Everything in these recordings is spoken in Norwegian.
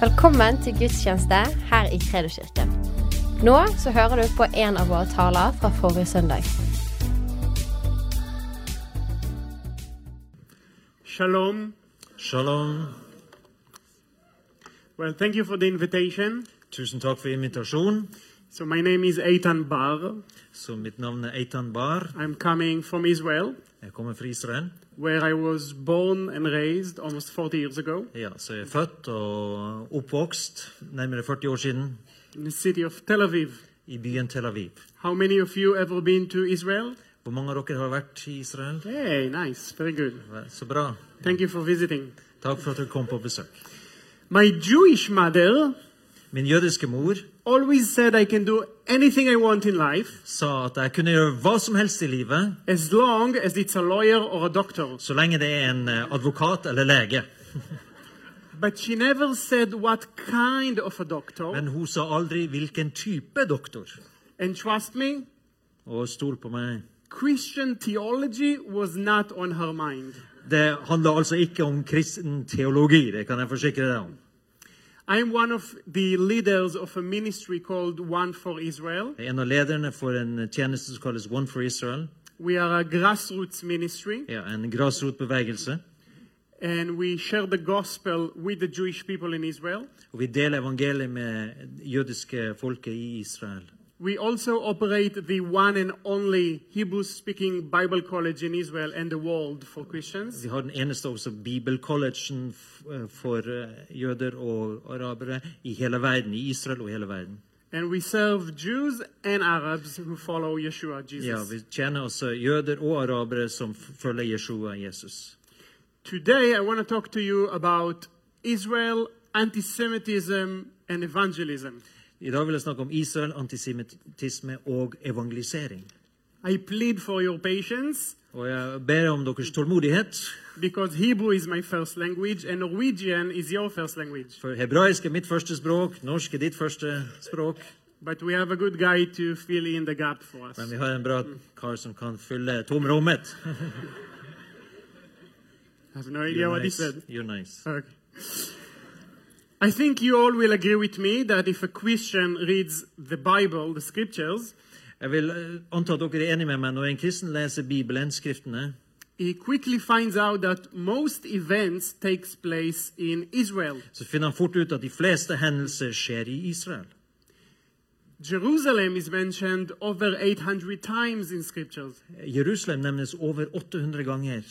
Velkommen til gudstjeneste her i Kredoskirken. Nå så hører du på en av våre taler fra forrige søndag. Shalom. Shalom. Well, thank you for the invitation. Tusen takk for invitasjonen. So, my name is Eitan Bar. Så mitt navn er Eitan Bar. I'm coming from Israel, Jeg kommer fra Israel. where I was born and raised almost 40 years ago, Ja, så jeg er født og oppvokst nærmere 40 år siden in the city of Tel Aviv. i byen Tel Aviv. How many of you ever been to Israel? Hvor mange av dere har vært i Israel? Hey, nice. Very good. Så bra. Thank you for visiting. Takk for at dere kom på besøk. My Jewish mother Min jødiske mor always said I can do anything I want in life sa at jeg kunne gjøre hva som helst i livet as long as it's a lawyer or a doctor. så lenge det er en eh, advokat eller lege. But she never said what kind of a doctor. Men hun sa aldri hvilken type doktor. And trust me, Og stol på meg. Christian theology was not on her mind. Det handler altså ikke om kristen teologi, det kan jeg forsikre deg om. I'm one of the leaders of a ministry called One for Israel. Jeg er en av lederne for en tjeneste som kalles One for Israel. We are a grassroots ministry Ja, en grasrotbevegelse. and we share the gospel with the Jewish people in Israel. Og vi deler evangeliet med jødiske folket i Israel. We also operate the one and only Hebrew speaking Bible college in Israel and the world for Christians. Vi har den eneste også bibelcollegen f- eh, for eh, jøder og arabere i hele verden. I Israel og hele verden. And we serve Jews and Arabs who follow Yeshua, Ja, Jesus. Vi tjener også jøder og arabere som f- følger Jeshua, Jesus. Today, I want to talk to you about Israel, anti Semitism, and evangelism. I dag vil jeg snakke om Israel, antisemittisme og evangelisering. I plead for your patience Og jeg ber om deres tålmodighet, because Hebrew is my first language and Norwegian is your first language. for hebraisk er mitt første språk, norsk er ditt første språk. But we have a good guy to fill in the gap for us. Men vi har en bra kar som kan fylle tomrommet. I have no idea what he said. You're nice. Okay. I think you all will agree with me that if a Christian reads the Bible, the scriptures, Jeg vil eh, anta at dere er enige med meg. Når en kristen leser Bibelen, Skriftene, he quickly finds out that most events takes place in Israel. så finner han fort ut at de fleste hendelser skjer i Israel. Jerusalem is mentioned over 800 times in scriptures. Jerusalem nevnes over 800 ganger.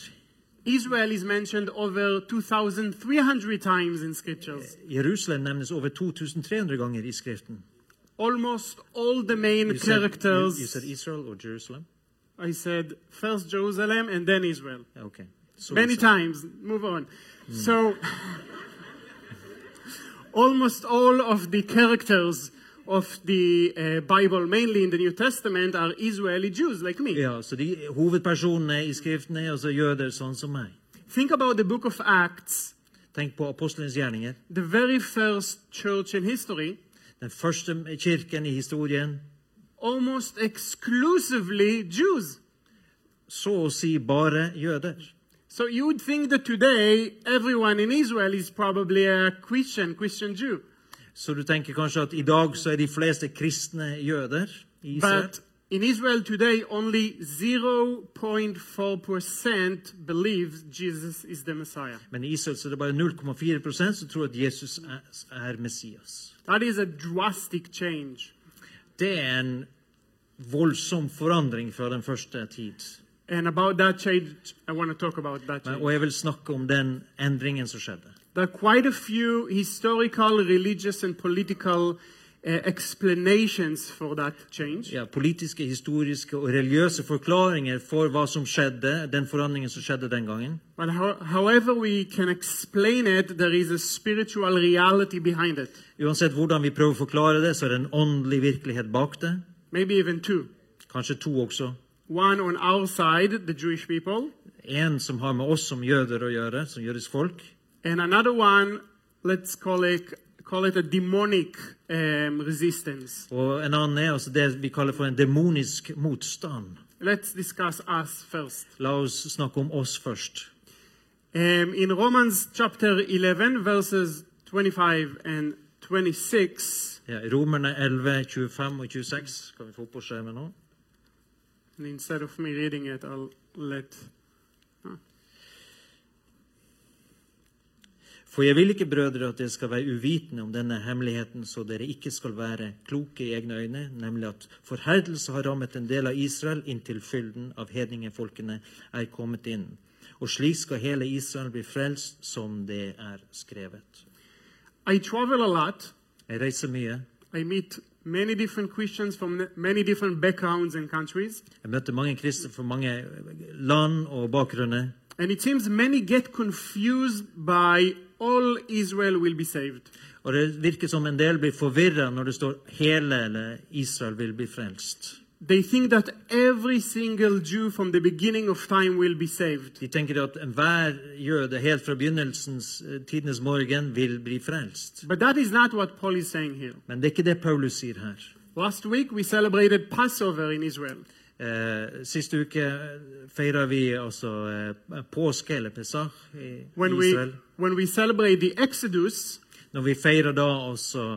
Israel is mentioned over 2,300 times in scriptures. Jerusalem nevnes over 2300 ganger i Skriften. Almost all the main You said, you, characters. you said E- Israel or Jerusalem? I said first Jerusalem and then Israel. Okay. So Many so- times. Move on. Hmm. So, almost all of the characters of the uh, Bible, mainly in the New Testament, are Israeli Jews like me. Ja, så de hovedpersonene i Skriften er altså jøder sånn som meg. Think about the book of Acts, Tenk på apostlenes gjerninger. the very first church in history. Den første kirken i historien. Almost exclusively Jews. så å si bare jøder. So you would think that today everyone in Israel is probably a Christian, Christian Jew. Så du tenker kanskje at i dag så er de fleste kristne jøder i Israel. But in Israel today, only 0.4% believes Jesus is the Messiah. Men i Israel så er det bare 0,4 som tror at Jesus er, er Messias. That is a drastic change. Det er en voldsom forandring fra den første tid. And about that change, I want to talk about that Men, change. og jeg vil snakke om den endringen som skjedde. There are quite a few historical, religious, and political uh, explanations for that change. Ja, Politiske, historiske og religiøse forklaringer for hva som skjedde, den forandringen som skjedde den gangen. But how, however we can explain it, there is a spiritual reality behind it. Uansett hvordan vi prøver å forklare det, så er det en åndelig virkelighet bak det. Maybe even two. Kanskje to også. One on our side, the Jewish people, En som har med oss som jøder å gjøre, som jødisk folk. and another one, let's call it call it a demonic um, resistance. Og en annen er altså det vi kaller for en demonisk motstand. Let's discuss us first. La oss snakke om oss først. Um, in Romans chapter 11, verses 25 and 26. Ja, Romerne 11, 25 og 26 kan vi få opp på skjermen nå. And instead of me reading it, I'll let. For jeg vil ikke, brødre, at dere skal være uvitende om denne hemmeligheten, så dere ikke skal være kloke i egne øyne, nemlig at forherdelse har rammet en del av Israel inntil fylden av hedningefolkene er kommet inn. Og slik skal hele Israel bli frelst, som det er skrevet. I travel a lot. Jeg reiser mye. I meet many different Christians from many different backgrounds and countries. Jeg møter mange kristne fra mange land og bakgrunner. And it seems many get confused by all Israel will be saved. Og det virker som en del blir forvirra når det står 'hele eller Israel vil bli frelst'. They think that every single Jew from the beginning of time will be saved. De tenker at enhver jøde helt fra begynnelsens eh, tidenes morgen vil bli frelst. But that is not what Paul is saying here. Men det er ikke det Paulus sier her. Last week we celebrated Passover in Israel. Eh, siste uke feira vi altså eh, påske, eller Pesach, i When we, Israel. when we celebrate the Exodus, Når vi feirer da altså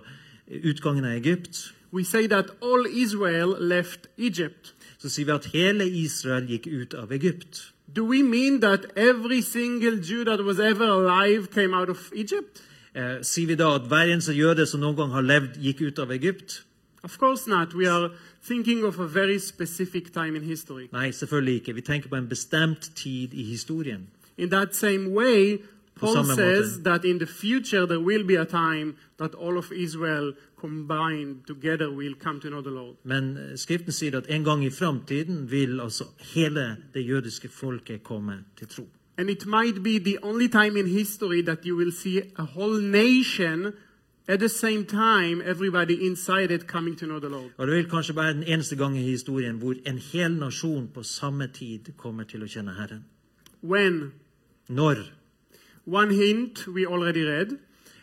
utgangen av Egypt, we say that all Israel left Egypt. så sier vi at hele Israel gikk ut av Egypt. Do we mean that every single Jew that was ever alive came out of Egypt? Eh, sier vi da at hver eneste jøde som noen gang har levd, gikk ut av Egypt? Of course not. We are thinking of a very specific time in history. Nei, selvfølgelig ikke. Vi tenker på en bestemt tid i historien. In that same way, Paul samme says måte. that in the future there will be a time that all of Israel combined together will come to know the Lord. Men eh, Skriften sier at en gang i framtiden vil altså hele det jødiske folket komme til tro. And it might be the only time in history that you will see a whole nation at the same time, everybody inside it coming to know the Lord. Og Det vil kanskje være den eneste gang i historien hvor en hel nasjon på samme tid kommer til å kjenne Herren. When? Når? One hint we already read.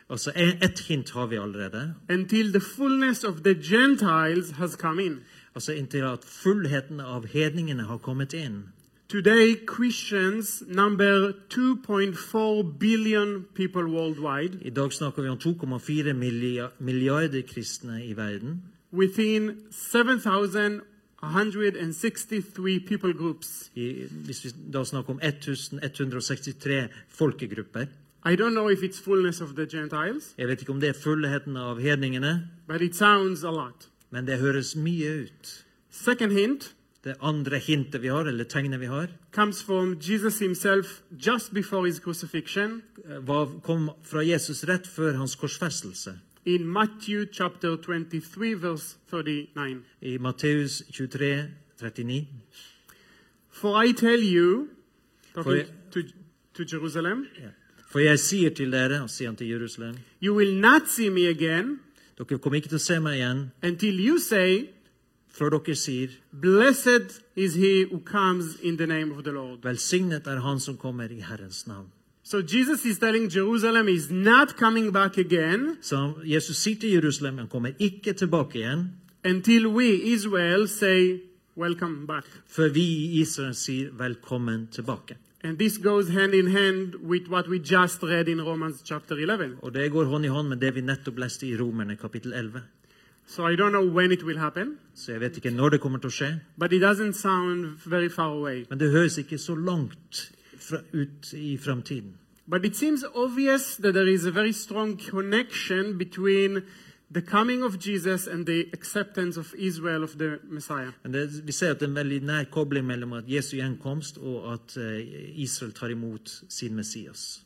Altså, e- Ett hint har vi allerede. Until the fullness of the Gentiles has come in. Altså Inntil at fullheten av hedningene har kommet inn. Today, Christians number 2.4 billion people worldwide. I dag snakker vi om 2,4 millia- milliarder kristne i verden. within 7,163 people groups. I, hvis vi da snakker om 1163 folkegrupper. I don't know if it's fullness of the Gentiles, Jeg vet ikke om det er fullheten av hedningene, but it sounds a lot. men det høres mye ut. Second hint Det andre hintet vi har, eller tegnet vi har, comes from Jesus himself just before his crucifixion eh, var, kom fra Jesus rett før hans korsfestelse. in Matthew chapter 23, verse 39. I Matteus 23, 39. For I tell you, talking For- to, to Jerusalem, Ja. For jeg sier til dere, og sier han til Jerusalem, you will not see me again dere kommer ikke til å se meg igjen until you say, før dere sier, Blessed is he who comes in the name of the Lord. velsignet er han som kommer i Herrens navn. So Jesus is telling Jerusalem is not coming back again Så han- Jesus sier til Jerusalem, han kommer ikke tilbake igjen, until we, Israel, say, Welcome back. før vi i Israel sier velkommen tilbake. And this goes hand in hand with what we just read in Romans chapter 11. Og det går hånd i hånd med det vi nettopp leste i Romerne kapittel 11. So I don't know when it will happen, Så jeg vet ikke når det kommer til å skje, but it doesn't sound very far away. men det høres ikke så langt fra, ut i framtiden. But it seems obvious that there is a very strong connection between the coming of Jesus and the acceptance of Israel of the Messiah. Men det, vi ser at det er en veldig nær kobling mellom at Jesu gjenkomst og at eh, Israel tar imot sin Messias.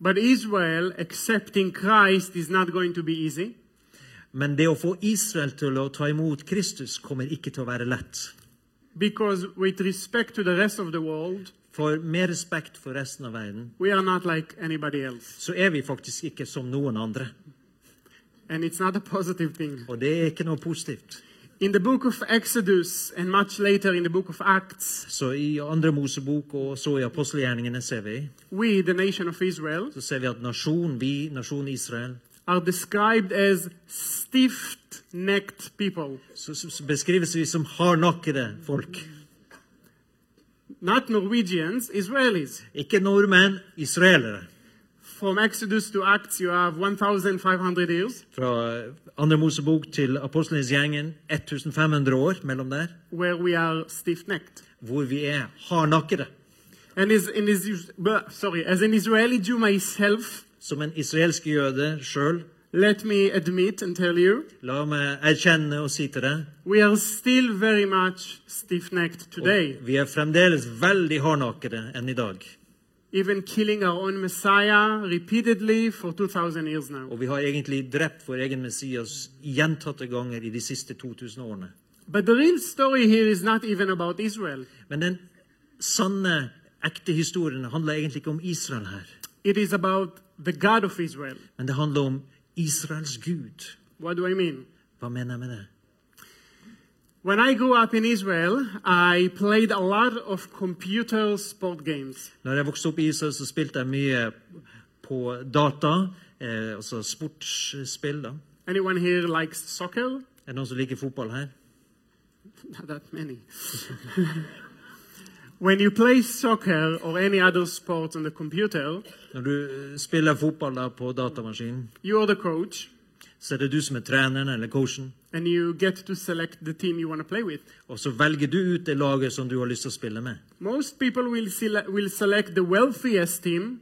But Israel accepting Christ is not going to be easy. Men det å få Israel til å ta imot Kristus kommer ikke til å være lett. Because with respect to the rest of the world, For med respekt for resten av verden we are not like anybody else. så er vi faktisk ikke som noen andre. And it's not a positive thing. Og det er ikke noe positivt. In the book of Exodus, and much later in the book of Acts, Så i andre Mosebok og så i apostelgjerningene ser vi, we, the nation of Israel, så ser vi at nasjonen, vi, nasjonen Israel, are described as stiff necked people. så, så, så beskrives vi som hardnakkede folk. Not Norwegians, Israelis. Ikke nordmenn, israelere. from Exodus to Acts, you have 1,500 years Fra eh, andre Mosebok til apostlenes gjengen, 1500 år mellom der, where we are stiff-necked. hvor vi er hardnakkede. And as, in is, but, sorry, as an Israeli Jew myself, Som en israelsk jøde sjøl, let me admit and tell you, la meg erkjenne og si til deg we are still very much stiff-necked today. og vi er fremdeles veldig hardnakkede enn i dag. Even killing our own Messiah repeatedly for 2,000 years now. Og vi har egentlig drept vår egen Messias gjentatte ganger i de siste 2000 årene. But the real story here is not even about Israel. Men den sanne, ekte historien handler egentlig ikke om Israel her. It is about the God of Israel. Men det handler om Israels Gud. What do I mean? Hva mener jeg med det? When I grew up in Israel, I played a lot of computer sport games. Når jeg vokste opp i Israel, så spilte jeg mye på data, eh, altså sportsspill. da. Anyone here likes soccer? Er det noen som liker fotball her? Not that many. when you play soccer or any other sport on the computer, Når du eh, spiller fotball da på datamaskinen, you are the coach så er det du som er treneren eller coachen, and you get to select the team you want to play with. og så velger du ut det laget som du har lyst til å spille med. Most people will, sele- will select the wealthiest team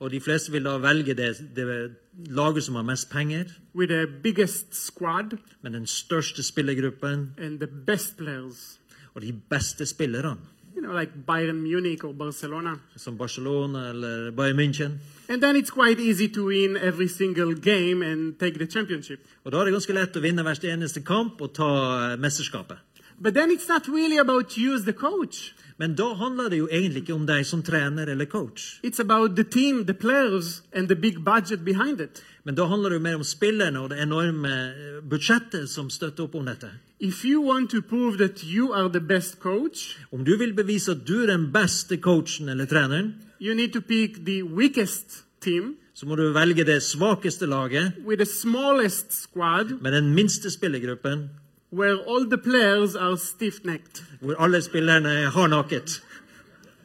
Og de fleste vil da velge det, det laget som har mest penger, with the biggest squad med den største spillergruppen and the best players. og de beste spillerne, You know, like Bayern Munich or Barcelona. som Barcelona eller Bayern München. And then it's quite easy to win every single game and take the championship. Og da er det ganske lett å vinne hver eneste kamp og ta eh, mesterskapet. But then it's not really about you as the coach. Men da handler det jo egentlig ikke om deg som trener eller coach. It's about the team, the players, and the big budget behind it. Men da handler det jo mer om spillerne og det enorme eh, budsjettet som støtter opp om dette. If you want to prove that you are the best coach, Om du vil bevise at du er den beste coachen eller treneren, you need to pick the weakest team så må du velge det svakeste laget with the smallest squad med den minste spillergruppen, where all the players are stiff necked hvor alle spillerne er hardnakket,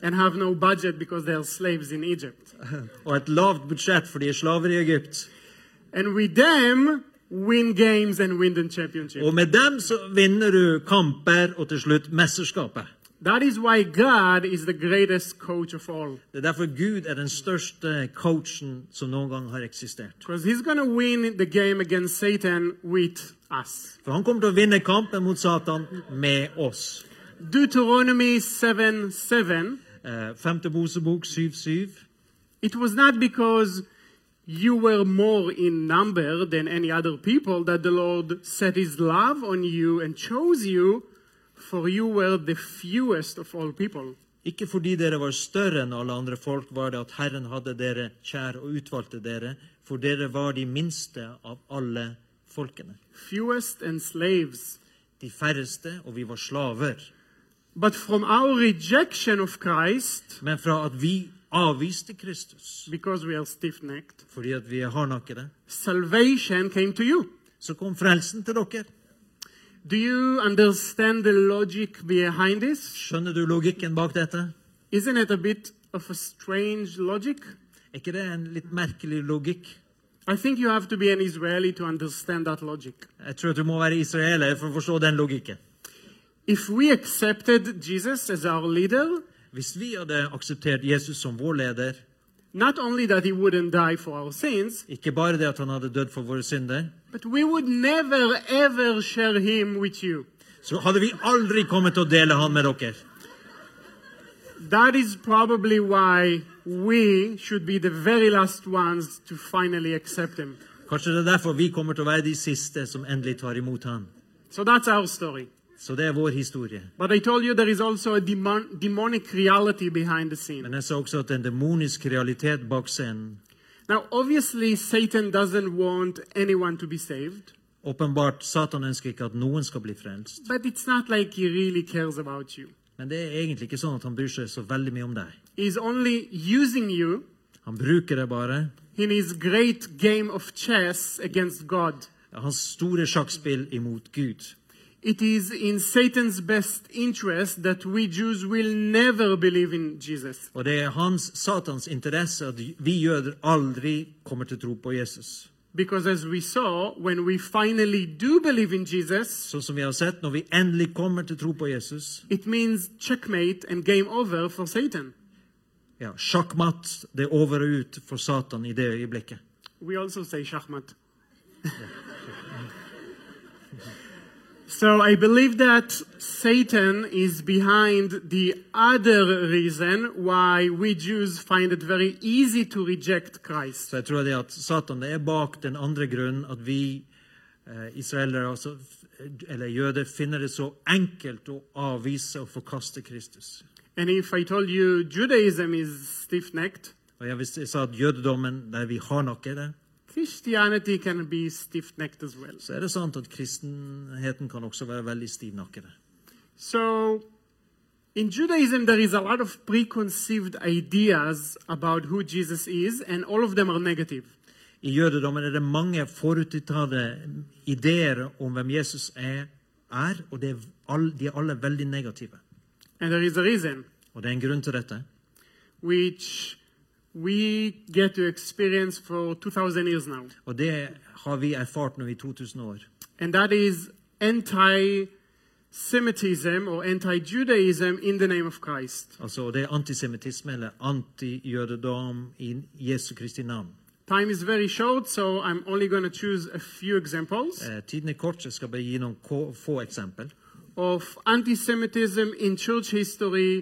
and have no budget because they are slaves in Egypt. og et lavt budsjett for de er slaver i Egypt. And with them, win games and win the championship. Og med dem så vinner du kamper og til slutt mesterskapet. That is why God is the greatest coach of all. Det er derfor Gud er den største coachen som noen gang har eksistert. Because he's going to win the game against Satan with us. For han kommer til å vinne kampen mot Satan med oss. Deuteronomy 7 7. Eh, Femte Mosebok 7.7. It was not because you were more in number than any other people that the Lord set his love on you and chose you, for you were the fewest of all people. Ikke fordi dere var større enn alle andre folk, var det at Herren hadde dere kjær og utvalgte dere, for dere var de minste av alle folkene. Fewest and slaves. De færreste, og vi var slaver. But from our rejection of Christ, Men fra at vi avviste Kristus, because we are stiff necked, fordi at vi er hardnakkede, salvation came to you. så kom frelsen til dere. Do you understand the logic behind this? Skjønner du logikken bak dette? Isn't it a bit of a strange logic? Er ikke det en litt merkelig logikk? I think you have to be an Israeli to understand that logic. Jeg tror at du må være israeler for å forstå den logikken. If we accepted Jesus as our leader, Hvis vi hadde akseptert Jesus som vår leder, not only that he wouldn't die for our sins, ikke bare det at han hadde dødd for våre synder, but we would never ever share him with you. så hadde vi aldri kommet til å dele han med dere. That is probably why we should be the very last ones to finally accept him. Kanskje det er derfor vi kommer til å være de siste som endelig tar imot han. So that's our story. Så det er vår historie. But I told you there is also a demon- demonic reality behind the scene. Men jeg sa også at det er en demonisk realitet bak scenen. Now, obviously, Satan doesn't want anyone to be saved, Åpenbart, Satan ønsker ikke at noen skal bli frelst. but it's not like he really cares about you. Men det er egentlig ikke sånn at han bryr seg så veldig mye om deg. He's only using you Han bruker deg bare. in his great game of chess against God. Hans store sjakkspill imot Gud. It is in Satan's best interest that we Jews will never believe in Jesus. Og det er hans, Satans, interesse at vi jøder aldri kommer til å tro på Jesus. Because as we saw, when we finally do believe in Jesus, Sånn som vi har sett, når vi endelig kommer til å tro på Jesus it means checkmate and game over for Satan. ja, Sjakkmatt, det er over og ut for Satan i det øyeblikket. We also say shachmat. so I believe that Satan is behind the other reason why we Jews find it very easy to reject Christ. Så jeg tror det at Satan det er bak den andre grunnen at vi eh, israelere, altså, f- eller jøder, finner det så enkelt å avvise og forkaste Kristus. And if I told you Judaism is stiff necked, Og jeg, visste- jeg sa at jødedommen, der vi har nok i det, Christianity can be stiff necked as well. så er det sant at kristenheten kan også være veldig stivnakkede. So in Judaism, there is a lot of preconceived ideas about who Jesus is, and all of them are negative. I jødedommen er det mange forutinntatte ideer om hvem Jesus er, er og det er all, de er alle veldig negative. And there is a reason. Og det er en grunn til dette. which we get to experience for 2,000 years now. Og det har vi erfart nå i 2000 år. And that is anti Semitism or anti Judaism in the name of Christ. Altså, det er antisemittisme eller antijødedom i Jesu Kristi navn. Time is very short, so I'm only going to choose a few examples Eh, tiden er kort, så jeg skal bare gi noen ko- få eksempel. of anti Semitism in church history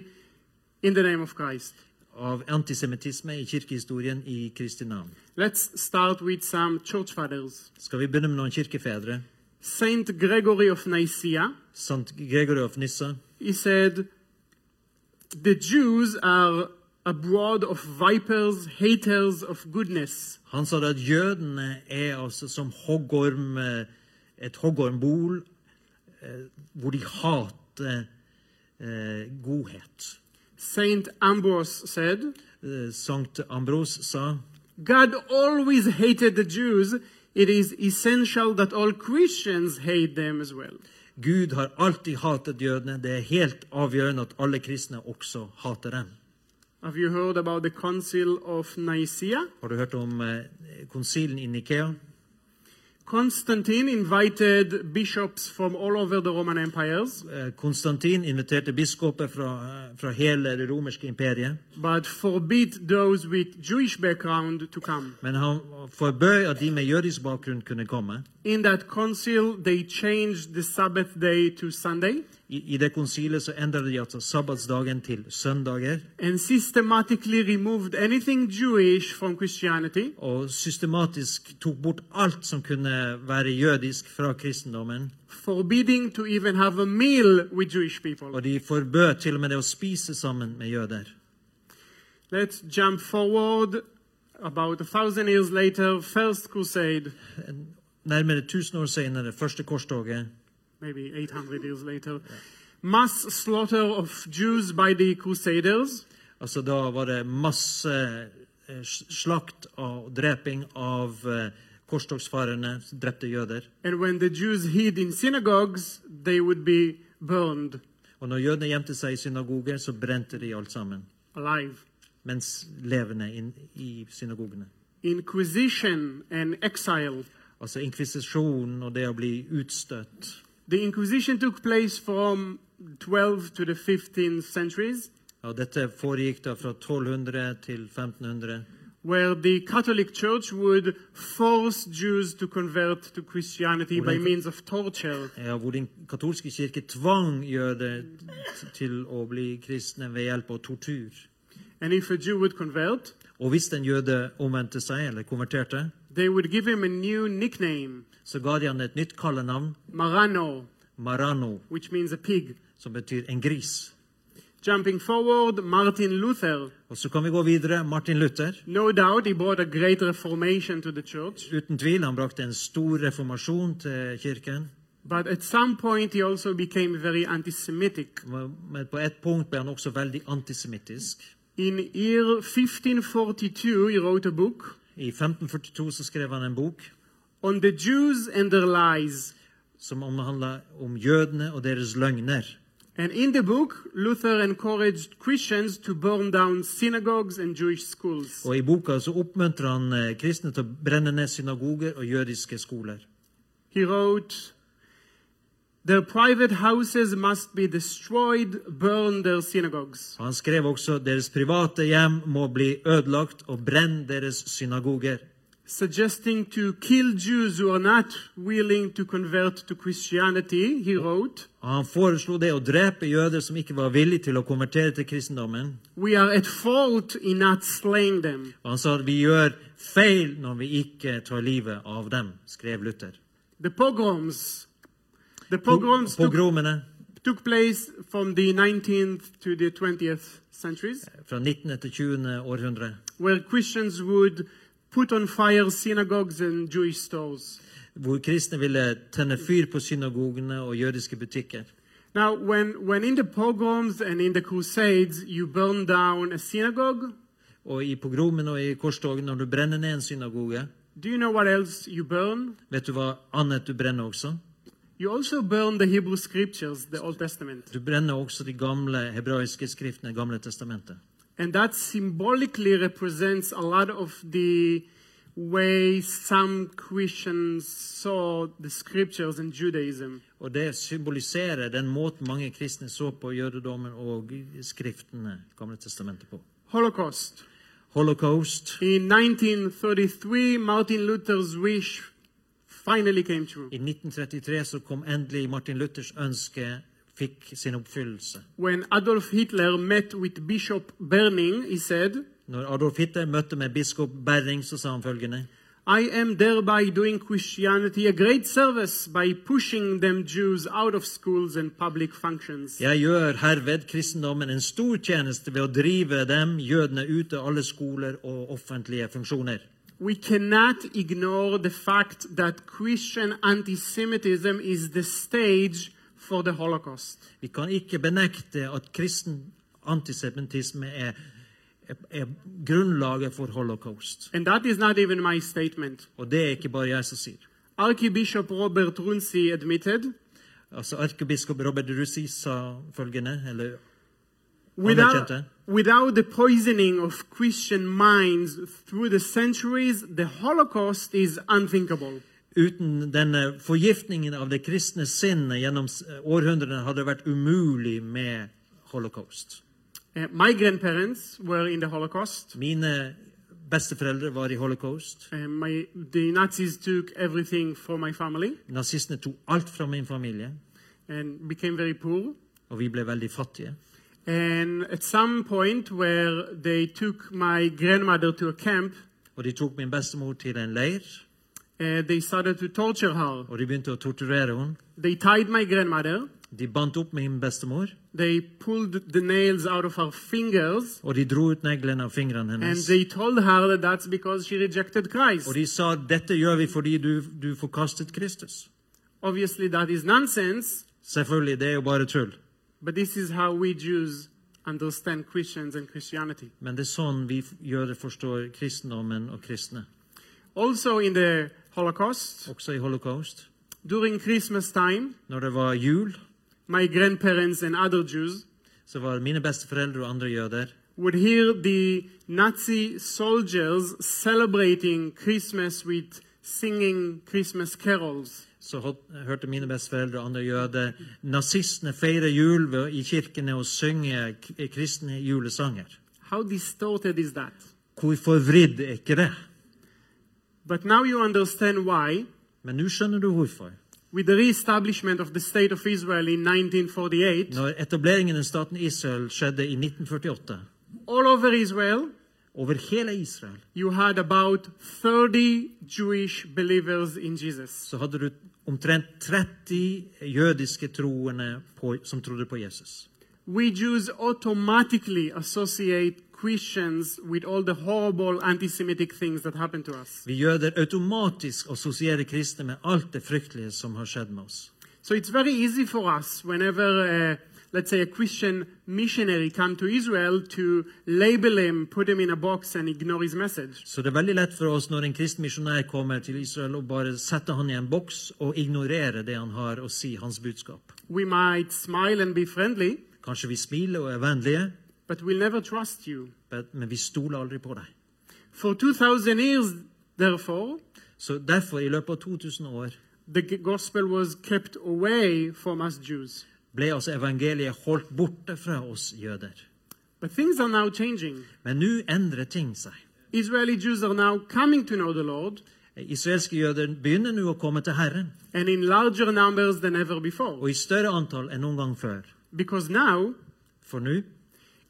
in the name of Christ. Av antisemittisme i kirkehistorien i Kristi navn. Let's start with some church fathers. Skal vi begynne med noen kirkefedre? Saint Gregory of Nicaea, Sant Gregory of Nyssa. he said, The Jews are abroad of vipers, haters of goodness. Han sa det at jødene er altså som hoggorm, eh, et hoggormbol eh, hvor de hater eh, godhet. Saint Ambrose said, Eh, Sankt Ambros sa God always hated the Jews. It is essential that all Christians hate them as well. Gud har alltid hatet jødene. Det er helt avgjørende at alle kristne også hater dem. Have you heard about the Council of Nicaea? Har du hørt om eh, konsilen i Nikea? Constantine invited bishops from all over the Roman empires, Eh, Konstantin inviterte biskoper fra, eh, fra hele det romerske imperiet, but forbid those with Jewish background to come. men han forbød at de med jødisk bakgrunn kunne komme. In that council, they changed the Sabbath day to Sunday I, i det konsilet så endret de altså sabbatsdagen til søndager, and systematically removed anything Jewish from Christianity. og systematisk tok bort alt som kunne være jødisk fra kristendommen. forbidding to even have a meal with Jewish people. Og de forbød til og med det å spise sammen med jøder. Let's jump forward about a thousand years later, First Crusade, Nærmere 1000 år senere, første korstoget, maybe 800 years later. Mass slaughter of Jews by the Crusaders. altså da var det masse eh, slakt og dreping av eh, korstogsfarerne, drepte jøder. And when the Jews hid in synagogues, they would be burned Og når jødene gjemte seg i synagoger, så brente de alt sammen, alive. mens levende inn i synagogene. Inquisition and exile. Altså inkvisisjonen og det å bli utstøtt. The Inquisition took place from 12 to the 15th centuries, Og dette foregikk da fra 1200 til 1500. where the Catholic Church would force Jews to convert to Christianity by means of torture. Ja, hvor den katolske kirke tvang jøder t- til å bli kristne ved hjelp av tortur. And if a Jew would convert, Og hvis en jøde omvendte seg, eller konverterte, they would give him a new nickname, så ga de han et nytt kallenavn, Marano, Marano, which means a pig. som betyr en gris. Jumping forward, Martin Luther. Og så kan vi gå videre. Martin Luther. No doubt he brought a great reformation to the church, Uten tvil, han brakte en stor reformasjon til kirken. but at some point he also became very anti Semitic. Men på et punkt ble han også veldig antisemittisk. In year 1542, he wrote a book I 1542 så skrev han en bok on the Jews and their lies. som omhandla om jødene og deres løgner. And in the book, Luther encouraged Christians to burn down synagogues and Jewish schools. Og I boka så oppmuntrer han eh, kristne til å brenne ned synagoger og jødiske skoler. He wrote, Their private houses must be destroyed, burn their synagogues. Og Han skrev også deres private hjem må bli ødelagt, og brenn deres synagoger. Suggesting to kill Jews who are not willing to convert to Christianity, he wrote, Og Han foreslo det å drepe jøder som ikke var villige til å konvertere til kristendommen. We are at fault in not slaying them. Og han sa at vi gjør feil når vi ikke tar livet av dem, skrev Luther. The pogroms. The pogroms took, Pogromene took place from the 19th to the 20th centuries, fra 19. til 20. århundre, where Christians would put on fire synagogues and Jewish stores. hvor kristne ville tenne fyr på synagogene og jødiske butikker. Now, when, when in the pogroms and in the crusades you burn down a synagogue, Og i pogromene og i korstogene, når du brenner ned en synagoge, do you know what else you burn? vet du hva annet du brenner også? You also burn the Hebrew scriptures, the Old Testament. Du brenner også de gamle hebraiske skriftene, Gamle testamentet. And that symbolically represents a lot of the way some Christians saw the scriptures and Judaism. Og det symboliserer den måten mange kristne så på jødedommen og skriftene, Gamle testamentet, på. Holocaust. Holocaust. In 1933, Martin Luther's wish finally came true I 1933 så kom endelig Martin Luthers ønske fikk sin oppfyllelse. when Adolf Hitler met with Bishop Berning. He said, Når Adolf Hitler møtte med biskop Berring, så sa han følgende I am thereby doing Christianity a great service by pushing them Jews out of schools and public functions. Jeg gjør herved kristendommen en stor tjeneste ved å drive dem, jødene, ut av alle skoler og offentlige funksjoner. We cannot ignore the fact that Christian anti Semitism is the stage for the Holocaust. Vi kan ikke benekte at kristen antisemittisme er, er, er grunnlaget for holocaust. And that is not even my statement. Og det er ikke bare jeg som sier. Archbishop Robert Runcie admitted Altså Erkebiskop Robert Russi sa følgende, eller without, Anerkjente. without the poisoning of Christian minds through the centuries, the Holocaust is unthinkable. Uten denne forgiftningen av det kristne sinnet gjennom s- århundrene hadde det vært umulig med holocaust. Uh, my grandparents were in the Holocaust. Mine besteforeldre var i holocaust. Uh, my, the Nazis took everything from my family Nazistene tok alt fra min familie, and became very poor. og vi ble veldig fattige. And at some point, where they took my grandmother to a camp, Og de tok min bestemor til en leir, uh, they started to torture her. og de begynte å torturere henne. They tied my grandmother, De bandt opp min bestemor, they pulled the nails out of her fingers, og de dro ut neglene av fingrene and hennes. they told her that that's because she rejected Christ. Og de sa dette gjør vi fordi du, du forkastet Kristus. Obviously, that is nonsense, Selvfølgelig, det er jo bare tull. but this is how we Jews understand Christians and Christianity. Men det er sånn vi f- jøder forstår kristendommen og kristne. Also, in the Holocaust, Også i holocaust. during Christmas time, Når det var jul, my grandparents and other Jews så var mine besteforeldre og andre jøder would hear the Nazi soldiers celebrating Christmas with singing Christmas carols. så hot- hørte mine besteforeldre og andre jøder nazistene feire jul ved, i kirkene og synge k- kristne julesanger. How distorted is that? Hvor forvridd er ikke det? But now you understand why, Men nå skjønner du hvorfor. with the re-establishment of the State of Israel in 1948, Når etableringen av staten Israel skjedde i 1948, all over Israel, over hele Israel, you had about 30 Jewish believers in Jesus. så hadde du omtrent 30 jødiske troende på, som trodde på Jesus. We Jews automatically associate Christians with all the horrible anti-Semitic things that happened to us. Vi jøder automatisk assosierer kristne med alt det fryktelige som har skjedd med oss. So it's very easy for us whenever uh, let's say, a Christian missionary come to Israel to label him, put him in a box, and ignore his message. Så det er veldig lett for oss når en kristen misjonær kommer til Israel og bare setter han i en boks og ignorerer det han har å si, hans budskap. We might smile and be friendly, Kanskje vi smiler og er vennlige, but we'll never trust you. men- men vi stoler aldri på deg. For 2,000 years, therefore, Så derfor, i løpet av 2000 år, the g- gospel was kept away from us Jews. ble altså evangeliet holdt borte fra oss jøder. But things are now changing. Men nå endrer ting seg. Israeli Jews are now coming to know the Lord, Israelske jøder begynner nå å komme til Herren, and in larger numbers than ever before. og i større antall enn noen gang før. Because now For nå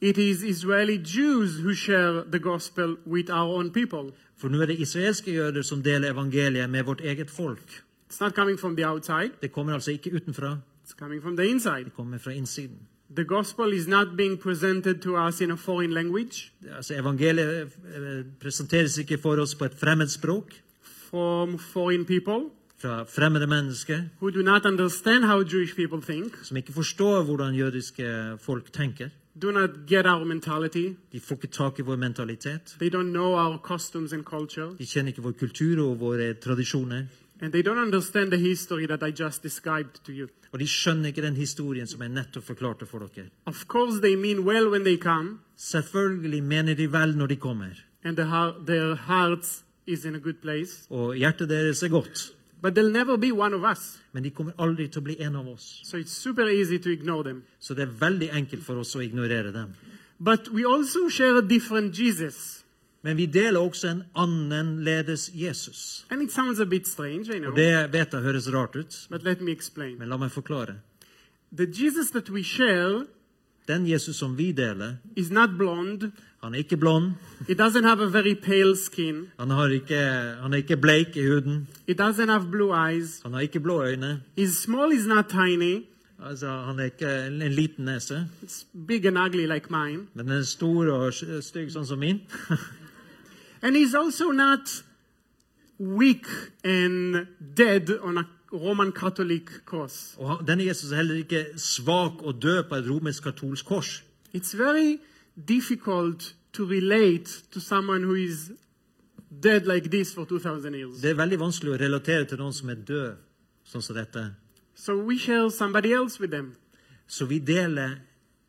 it is Israeli Jews who share the gospel with our own people. for nå er det israelske jøder som deler evangeliet med vårt eget folk. It's not coming from the outside, Det kommer altså ikke utenfra, it's coming from the inside. det kommer fra innsiden. The gospel is not being presented to us in a foreign language Altså, evangeliet eh, presenteres ikke for oss på et fremmed språk, from foreign people fra fremmede mennesker who do not understand how Jewish people think, som ikke forstår hvordan jødiske folk tenker. do not get our mentality, De får ikke tak i vår mentalitet. they don't know our costumes and culture, De kjenner ikke vår kultur og våre tradisjoner. and they don't understand the history that I just described to you. Og de skjønner ikke den historien som jeg nettopp forklarte for dere. Of course, they mean well when they come, Selvfølgelig mener de vel når de kommer, and the heart, their hearts is in a good place, og hjertet deres er godt. but they'll never be one of us. Men de kommer aldri til å bli en av oss. So it's super easy to ignore them. Så det er veldig enkelt for oss å ignorere dem. But we also share a different Jesus. Men vi deler også en annenledes Jesus. And it sounds a bit strange, I know, Og det vet jeg høres rart ut, but let me explain. men la meg forklare. The Jesus that we share Den Jesus som vi deler, is not blonde, han er ikke blond, it doesn't have a very pale skin, han, har ikke, han er ikke bleik i huden, it doesn't have blue eyes, han har ikke blå øyne, his small is not tiny, altså, han er ikke en en liten nese, it's big and ugly like mine, men den er stor og s- stygg sånn som min. and he's also not weak and dead on a Roman Catholic cross. Og han- denne Jesus er heller ikke svak og død på et romersk-katolsk kors. It's very difficult to relate to someone who is dead like this for 2,000 years. Det er veldig vanskelig å relatere til noen som er død, sånn som dette. So we share somebody else with them. Så vi deler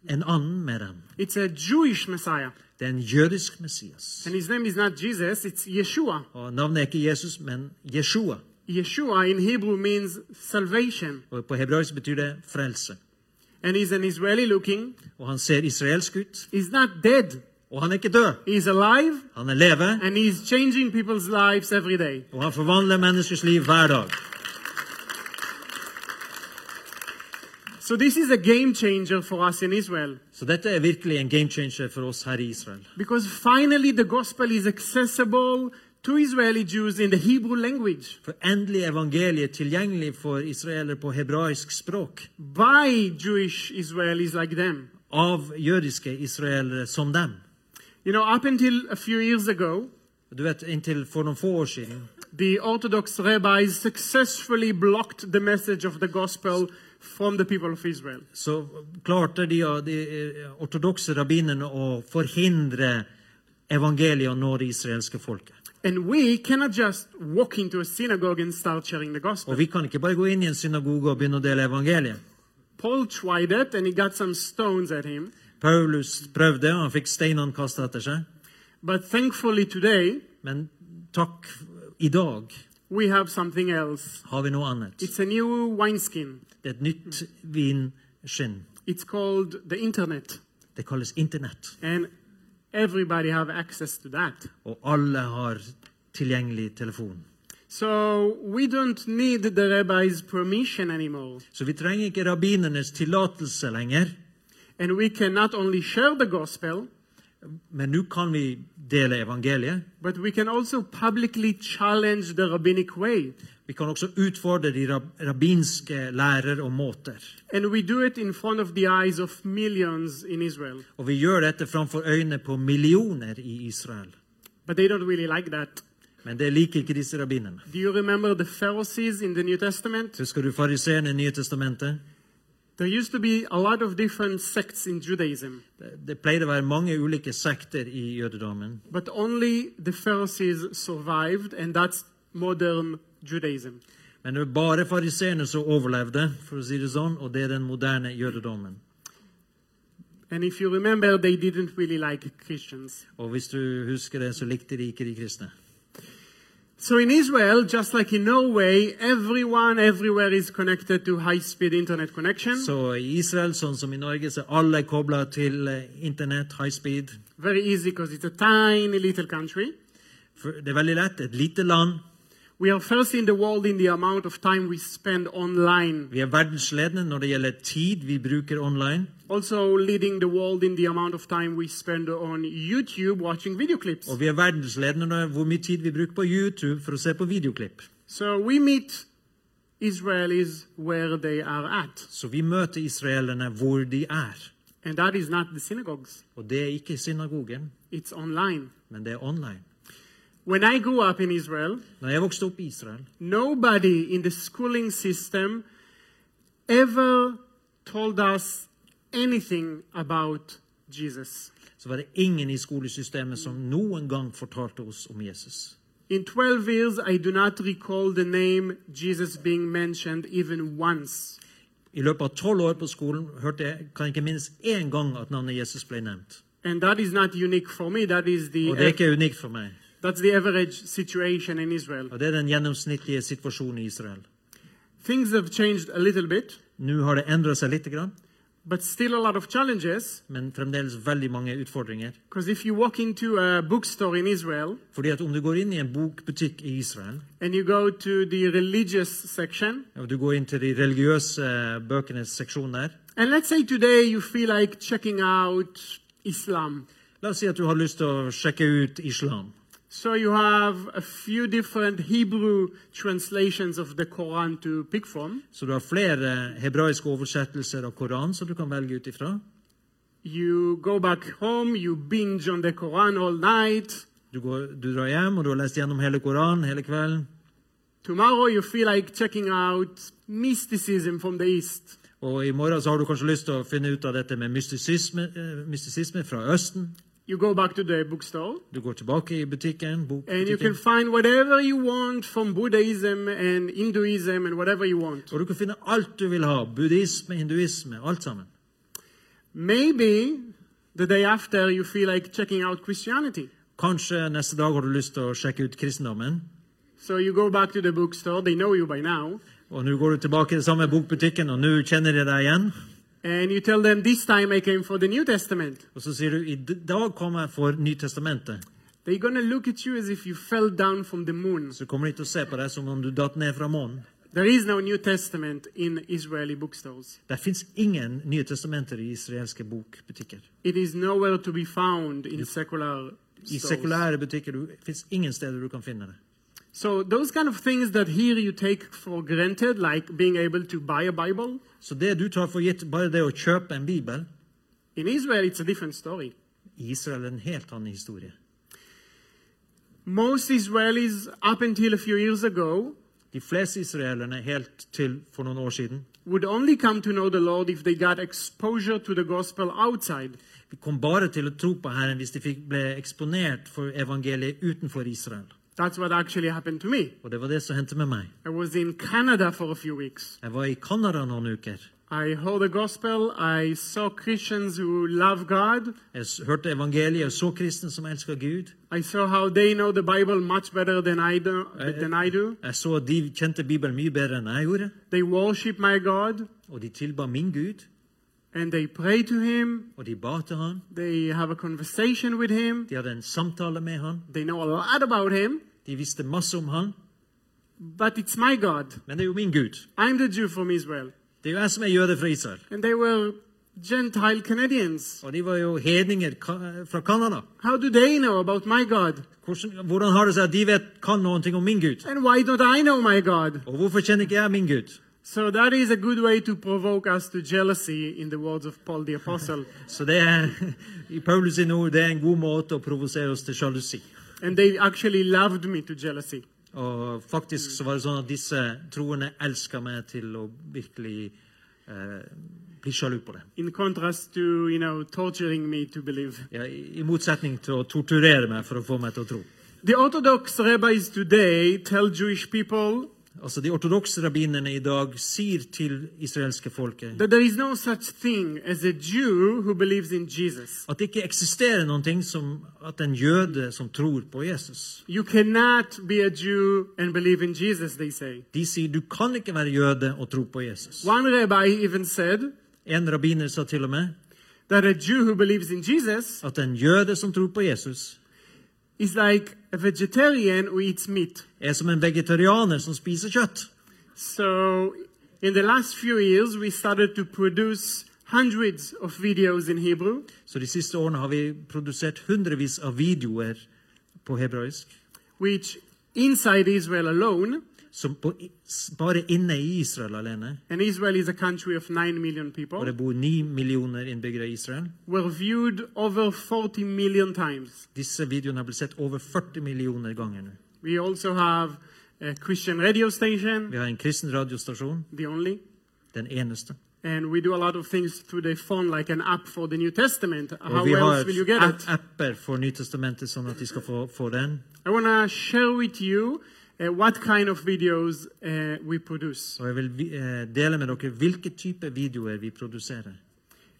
en annen med dem. It's a Jewish Messiah. Det er en jødisk Messias. And his name is not Jesus, it's Yeshua. Og navnet er ikke Jesus, men Jeshua. Yeshua in Hebrew means salvation. Og på hebraisk betyr det frelse. And he's an Israeli looking. Og han ser israelsk ut, He's not dead, og han er ikke død. he's alive, Han er leve, and he's changing people's lives every day. og han forvandler menneskers liv hver dag. So this is a game changer for us in Israel. Så dette er virkelig en game changer for oss her i Israel. Because finally the gospel is accessible to Israeli Jews in the Hebrew language. For endelig er evangeliet tilgjengelig for israelere på hebraisk språk by Jewish Israelis like them. av jødiske israelere som dem. You know, up until a few years ago, Du vet, Inntil for noen få år siden the Orthodox rabbis successfully blocked the message of the gospel from the people of Israel. så klarte de, å- de eh, ortodokse rabbinerne å forhindre evangeliet å nå det israelske folket. And we cannot just walk into a synagogue and start sharing the gospel. Og vi kan ikke bare gå inn i en synagoge og begynne å dele evangeliet. Paul tried it and he got some stones at him. Paulus prøvde, og han fikk steinene kasta etter seg. But thankfully today, Men takk, i dag we have something else. har vi noe annet. It's a new wineskin. Det er et nytt vinskinn. It's called the internet. Det kalles internett. And everybody have access to that. Og alle har tilgjengelig telefon. So we don't need the rabbi's permission anymore. Så vi trenger ikke rabbinernes tillatelse lenger. And we can not only share the gospel, Men nå kan vi dele evangeliet. but we can also publicly challenge the rabbinic way. Vi kan også utfordre de rab rabbinske lærer og måter. And we do it in front of the eyes of millions in Israel. Og vi gjør dette framfor øynene på millioner i Israel. But they don't really like that. Men det liker ikke disse rabbinerne. Do you remember the Pharisees in the New Testament? Husker du fariseerne i Nye testamentet? There used to be a lot of different sects in Judaism, Det det pleide å være mange ulike sekter i jødedommen, but only the Pharisees survived, and that's modern Judaism. men det var bare fariseerne som overlevde, for å si det sånn, og det er den moderne jødedommen. And if you remember, they didn't really like Christians. Og hvis du husker det, så likte de ikke de kristne. So in Israel, just like in Norway, everyone everywhere is connected to high speed internet connection. Så i Israel, sånn som i Norge, så er alle kobla til eh, internett, high speed. Very easy because it's a tiny little country. For det er veldig lett. Et lite land. We are first in the world in the amount of time we spend online, Vi er verdensledende når det gjelder tid vi bruker online. also leading the world in the amount of time we spend on YouTube watching video clips. Og vi er verdensledende når hvor mye tid vi bruker på YouTube for å se på videoklipp. So we meet Israelis where they are at, Så vi møter israelerne hvor de er. and that is not the synagogues, Og det er ikke i synagogen, it's online. men det er online. When I grew up in Israel, Når jeg vokste opp i Israel, nobody in the schooling system ever told us anything about Jesus. så var det ingen i skolesystemet som noen gang fortalte oss om Jesus. In 12 years, I do not recall the name Jesus being mentioned even once. I løpet av tolv år på skolen hørte jeg, kan jeg ikke minnes én gang at navnet Jesus ble nevnt. And that is not unique for me. That is the Og det er ikke unikt for meg. that's the average situation in Israel. Og det er den gjennomsnittlige situasjonen i Israel. Things have changed a little bit, Nå har det endra seg litt, grann, but still a lot of challenges. men fremdeles veldig mange utfordringer. Because if you walk into a bookstore in Israel Fordi at om du går inn i en bokbutikk i Israel, and you go to the religious section, og du går inn til de religiøse eh, bøkenes seksjon der and let's say today you feel like checking out Islam. La oss si at du har lyst til å sjekke ut islam. So you have a few different Hebrew translations of the Quran to pick from. Så du har flere hebraiske oversettelser av Koranen som du kan velge ut ifra. You go back home, you binge on the Quran all night. Du, går, du drar hjem, og du har lest gjennom hele Koranen hele kvelden. Tomorrow you feel like checking out mysticism from the East. Og i morgen så har du kanskje lyst til å finne ut av dette med mystisisme, eh, mystisisme fra Østen. You go back to the bookstore Du går tilbake i butikken, and you can bokbutikken, find whatever you want from Buddhism and Hinduism and whatever you want. og du kan finne alt du vil ha. Buddhisme, hinduisme, alt sammen. Maybe the day after you feel like checking out Christianity. Kanskje neste dag har du lyst til å sjekke ut kristendommen, So you go back to the bookstore, they know you by now, og nå går du tilbake i den samme bokbutikken, og nå kjenner de deg igjen. and you tell them this time I came for the New Testament. Og så sier du i d- dag kom jeg for Nytestamentet. They're gonna look at you as if you fell down from the moon. Så kommer de til å se på deg som om du datt ned fra månen. There is no New Testament in Israeli bookstores. Det fins ingen Nye testamenter i israelske bokbutikker. It is nowhere to be found in secular I stores. sekulære butikker fins ingen steder du kan finne det. So those kind of things that here you take for granted, like being able to buy a Bible, Så det du tar for gitt, bare det å kjøpe en bibel in Israel it's a different story. I Israel er det en helt annen historie. Most Israelis, up until a few years ago, De fleste israelerne helt til for noen år siden would only come to know the Lord if they got exposure to the gospel outside. vi kom bare til å tro på Herren hvis de fikk, ble eksponert for evangeliet utenfor Israel. That's what actually happened to me. Og det var det som hendte med meg. I was in Canada for a few weeks. Jeg var i Canada noen uker. I heard the gospel, I saw Christians who love God, Jeg s- hørte evangeliet og så kristne som elsker Gud. I saw how they know the Bible much better than I do. Than I do. Jeg så at de kjente Bibelen mye bedre enn jeg gjorde. They worship my God Og de tilba min Gud, and they pray to Him. og de ba til han. They have a conversation with Him. De hadde en samtale med han. They know a lot about Him. De visste masse om han. But it's my God. Men det er jo min Gud. I'm the Jew from Israel. Det er jo jeg som er jøde fra Israel. And they were Gentile Canadians. Og de var jo hedninger ka- fra Canada. How do they know about my God? Hvordan, hvordan har det seg at de vet, kan noen ting om min Gud? And why don't I know my God? Og hvorfor kjenner ikke jeg min Gud? So that is a good way to provoke us to jealousy, in the words of Paul the Apostle. Så det er, i Paulus sine ord, det er en god måte å provosere oss til sjalusi. and they actually loved me to jealousy. Og faktisk så var det sånn at disse troende elska meg til å virkelig eh, blir sjalu på det. in contrast to, you know, torturing me to believe. Ja, I i motsetning til å torturere meg for å få meg til å tro. The Orthodox rabbis today tell Jewish people Altså, De ortodokse rabbinerne i dag sier til israelske folket that there is no such thing as a Jew who believes in Jesus. at det ikke eksisterer noen ting som at en jøde som tror på Jesus. You cannot be a Jew and believe in Jesus, they say. De sier du kan ikke være jøde og tro på Jesus. One rabbi even said En rabbiner sa til og med that a Jew who believes in Jesus at en jøde som tror på Jesus, is like a vegetarian who eats meat. er som en vegetarianer som spiser kjøtt. So, in the last few years, we started to produce hundreds of videos in Hebrew. Så de siste årene har vi produsert hundrevis av videoer på hebraisk which inside Israel alone, som på, bare inne i Israel alene, and Israel is a country of 9 million og people, det bor ni millioner innbyggere i Israel. were viewed over 40 million times. Disse videoene har blitt sett over 40 millioner ganger nå. We also have a Christian radio station, Vi har en kristen radiostasjon, the only, den eneste. and we do a lot of things through the phone, like an app for the New Testament. How Og vi else har will you get app- it? apper for Nytestamentet, sånn at de skal få, få den. I want to share with you uh, what kind of videos uh, we produce. Og jeg vil vi- eh, dele med dere hvilke type videoer vi produserer.